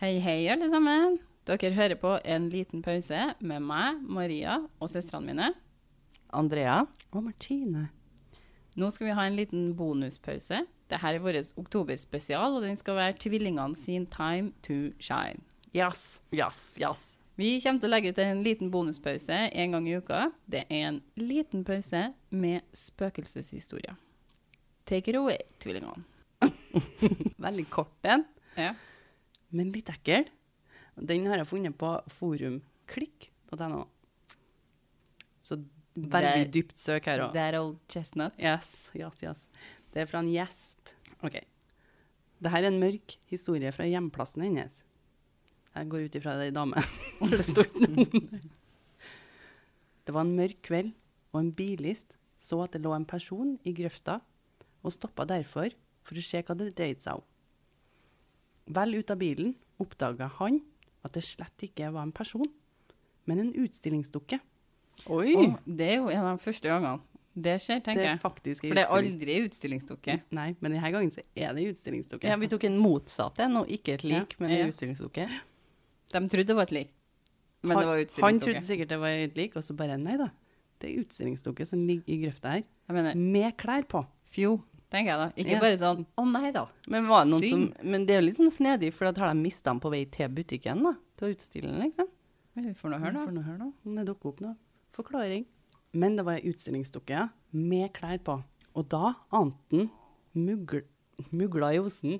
Hei, hei, alle sammen. Dere hører på En liten pause med meg, Maria og søstrene mine. Andrea. Og Martine. Nå skal vi ha en liten bonuspause. Dette er vår oktoberspesial, og den skal være tvillingene sin Time to Shine. Yes, yes, yes. Vi kommer til å legge ut en liten bonuspause en gang i uka. Det er en liten pause med spøkelseshistorier. Take it away, tvillingene. Veldig kort en, Ja. men litt ekkel. Den har jeg funnet på forumklikk.no. Så veldig Der- dypt søk her òg. That old chestnut. Yes, yes, yes. Det er fra en gjest. Ok. Dette er en mørk historie fra hjemplassen hennes. Jeg går ut ifra det dame. For det står ikke noe om det. Det var en mørk kveld, og en bilist så at det lå en person i grøfta, og stoppa derfor for å se hva det dreide seg om. Vel ut av bilen oppdaga han at det slett ikke var en person, men en utstillingsdukke. Oi! Å, det er jo en av de første gangene. Det skjer, tenker Det jeg. er faktisk en For det er utstilling. aldri utstillingsdukke. Nei, men denne gangen så er det en utstillingsdukke. Ja, vi tok en motsatt en, og ikke et lik, men Ja. en utstillingsdukke. De trodde det var et lik, men det var han, han trodde utstillingsdukke. sikkert det var et lik, og så bare nei da. Det er utstillingsdukke som ligger i grøfta her, Jeg mener, med klær på. fjo, tenker jeg da. Ikke Ja. bare sånn, å nei da. Men, var det noen som, Synd. men det er jo litt sånn snedig, for da har de mista den på vei til butikken, da. Til å utstille den, liksom. Men vi får nå høre Får da. nå høre nå. Om det dukker opp noe. Forklaring. Men det var ei utstillingsdukke, ja. Med klær på. Og da ante han mugl... Mugla i osen.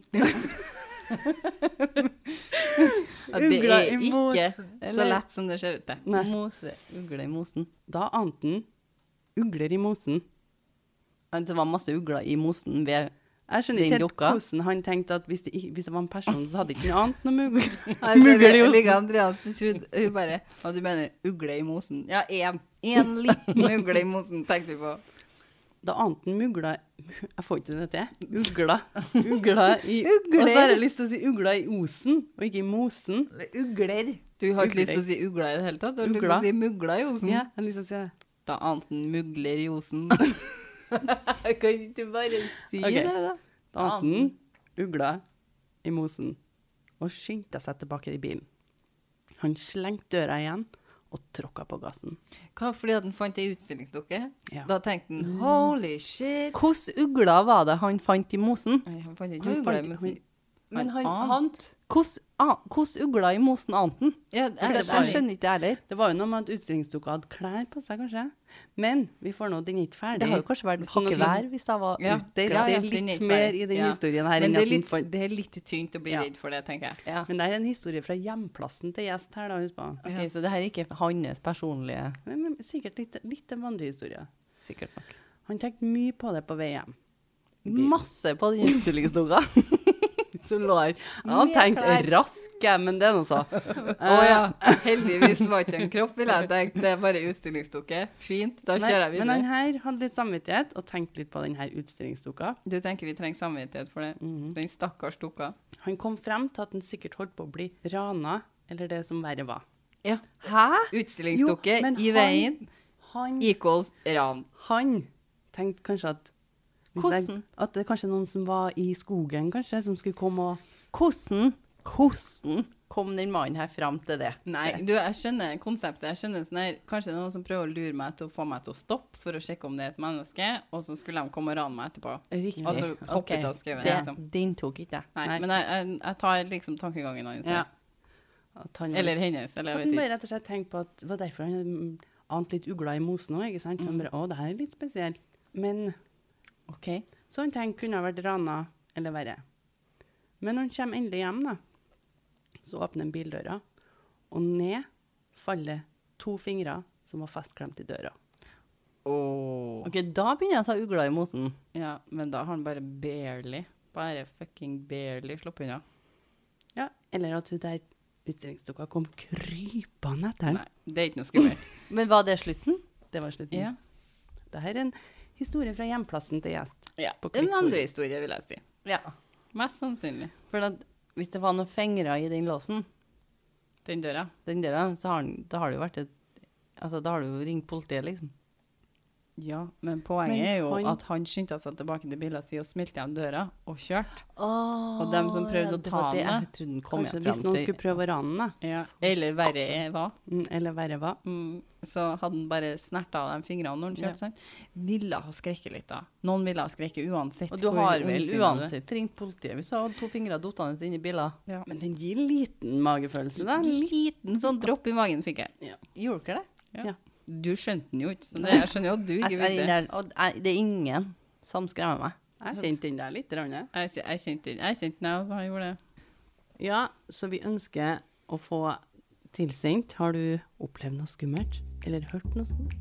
At det Ugla er i ikke Så lett som det ser ut til. Nei. Mose, ugle i mosen. Da ante han ugler i mosen. At Det var masse ugler i mosen ved Jeg skjønner ikke Den helt dukka. hvordan han tenkte at hvis det, i- hvis det var en person, så hadde ikke han ant noe mugl. Mugler mugler i osen. Like Andreas trodde, hun bare, og du mener ugle i mosen. Ja, en. En liten ugle i mosen, tenkte vi på. Da ante han mugla Jeg får ikke dette. Ugla. Ugla i Ugler. Og så har jeg lyst til å si ugla i osen, og ikke i mosen. Ugler. Du har ikke lyst til å si ugla i det hele tatt, du har lyst til å Ugla. si mugla i osen. Ja, jeg har lyst til å si det. Da ante han mugler i osen. Kan du bare si Ok. det, da? Da ante han ugla i mosen og skyndte seg tilbake i bilen. Han slengte døra igjen og tråkka på gassen. Hva, fordi at han fant ei utstillingsdukke? Ja. Da tenkte Mm. han, holy shit. Hvilke ugler var det han fant i mosen? Nei, han fant ikke Han ugle i fant- mosen. han- Men han ant. Hvordan an- hvordan ugler i mosen ante han? Ja, Jeg, jeg, jeg skjønner ikke det heller. Det var jo noe med at utstillingsdukka hadde klær på seg, kanskje. Men vi får nå den er ikke ferdig. Det har jo kanskje vært Sånn at- hakket vær hvis jeg var Ja. Ja, Det, det ja, er den er litt ikke mer ferdig. i den Ja. historien her Men det enn er, at den litt, fant det er litt tynt å bli Ja. redd for det, tenker jeg. Ja. Men det er en historie fra hjemplassen til gjest her, da, husk på. Ok, Så det her er ikke hans personlige Men, men, sikkert litt, litt en vandrehistorie. Sikkert nok. Han tenkte mye på det på vei hjem. Masse på den innstillingsdunga. Som lå her. Jeg hadde tenkt rask, jeg, men det er noe så. Å ja. Eh. Heldigvis var ikke en kropp, vil jeg tenke. Det er bare utstillingsdukke. Fint, da Nei, kjører jeg men han videre. her hadde litt samvittighet og tenkte litt på denne utstillingsdukka. Du tenker vi trenger samvittighet for det? Mhm. Den stakkars dukka. Han kom frem til at han sikkert holdt på å bli rana, eller det som verre var. Ja. Hæ? Utstillingsdukke Jo, men i han- veien Han, equals ran. han tenkte kanskje at hvis Jeg, Hvordan? at det er kanskje noen som var i skogen, kanskje, som skulle komme og Hvordan, hvordan kom den mannen her fram til det? Nei, du, jeg skjønner konseptet. Jeg skjønner sånn her, Kanskje det er noen som prøver å lure meg til å få meg til å stoppe for å sjekke om det er et menneske, og så skulle de komme og rane meg etterpå. Riktig. Altså hoppe Ok, ut av skauen, det- liksom. Den tok ikke jeg. Nei, Nei. men jeg, jeg, jeg tar liksom tankegangen hans. Ja. Ja. At han, Eller hennes, eller jeg at vet han bare ikke. rett og slett tenkte på at det var derfor han mm, ante litt ugla i mosen òg, ikke Mm. sant? Han bare Å, det her er litt spesielt. Men Ok. Sånne ting kunne ha vært rana eller verre. Men når han kommer endelig hjem, da, så åpner han bildøra, og ned faller to fingre som var festklemt i døra. Åh. Ok, Da begynner jeg å ta ugla i mosen. Ja, men da har han bare barely, bare fucking barely sluppet unna. Ja, Eller at hun der utstillingsdukka kom krypende etter ham. Nei, det er ikke noe skummelt. Men var det slutten? Det var slutten. Ja. Dette er en historie fra hjemplassen til gjest. ja. På En klikkord. andre historie, vil jeg si. Ja. Mest sannsynlig. For at, hvis det var noen fingre i den låsen, Den døra. den døra, så har, den- da har det jo vært et Altså, da har du jo ringt politiet, liksom. Ja, men poenget Men er jo han- at han skyndte seg tilbake til bilen sin og smilte igjen døra og kjørte. Oh, Og dem som prøvde å ta han Jeg trodde den kom Kanskje jeg hvis frem noen til. skulle prøve å rane den, da. Ja. Eller verre er hva. Mm, eller verre hva. Mm, så hadde han bare snerta av de fingrene når han Ja. kjørte. sant? Ville ha skrekket litt, da. Noen ville ha skrekket uansett. Og du hvor har vel ondsinnet du er. uansett ringt politiet hvis du hadde to fingre dottende inn i biler? Ja. Men den gir liten magefølelse, da. En liten sånn dråpe i magen fikk jeg. Gjorde dere det? Du skjønte den jo ikke, så det, jeg skjønner jo at du Jeg, ikke jeg, ville. der, og jeg, det er ingen som skremmer meg. Jeg kjente den der litt. Ranne. Jeg, kj- jeg kjente den, jeg kjente den, altså, jeg gjorde det. Ja, så vi ønsker å få tilsendt. Har du opplevd noe skummelt? Eller hørt noe skummelt?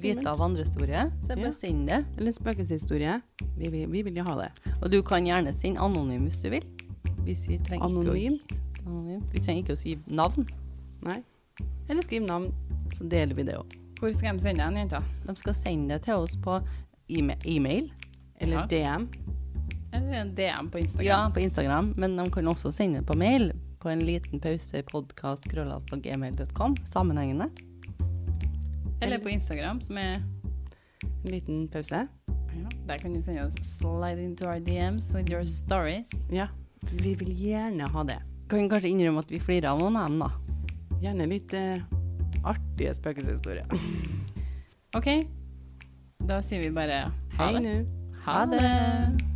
Vite av andre historier, så jeg Ja. bare send det. Eller en spøkelseshistorie? Vi, vil- vi vil jo ha det. Og du kan gjerne sende anonym hvis du vil. Hvis vi trenger Anonymt? Ikke å, anonymt. Vi trenger ikke å si navn. Nei. Eller skriv navn, så deler vi det òg. Hvor skal de sende den, jenta? De skal sende det til oss på e-ma- e-mail. Eller Ja. DM. Eller en DM på Ja, Instagram? på Instagram. Men de kan også sende det på mail. På en liten pause podcast krøllalf på gmail.com. Sammenhengende. Eller på Instagram, som er En liten pause. ja, Der kan du sende oss slide into our DMs with your stories. Ja. Vi vil gjerne ha det. Kan kanskje innrømme at vi flirer av noen av dem, da. Gjerne litt eh, artige spøkelseshistorier. OK? Da sier vi bare ha Hei det. nå. Ha det.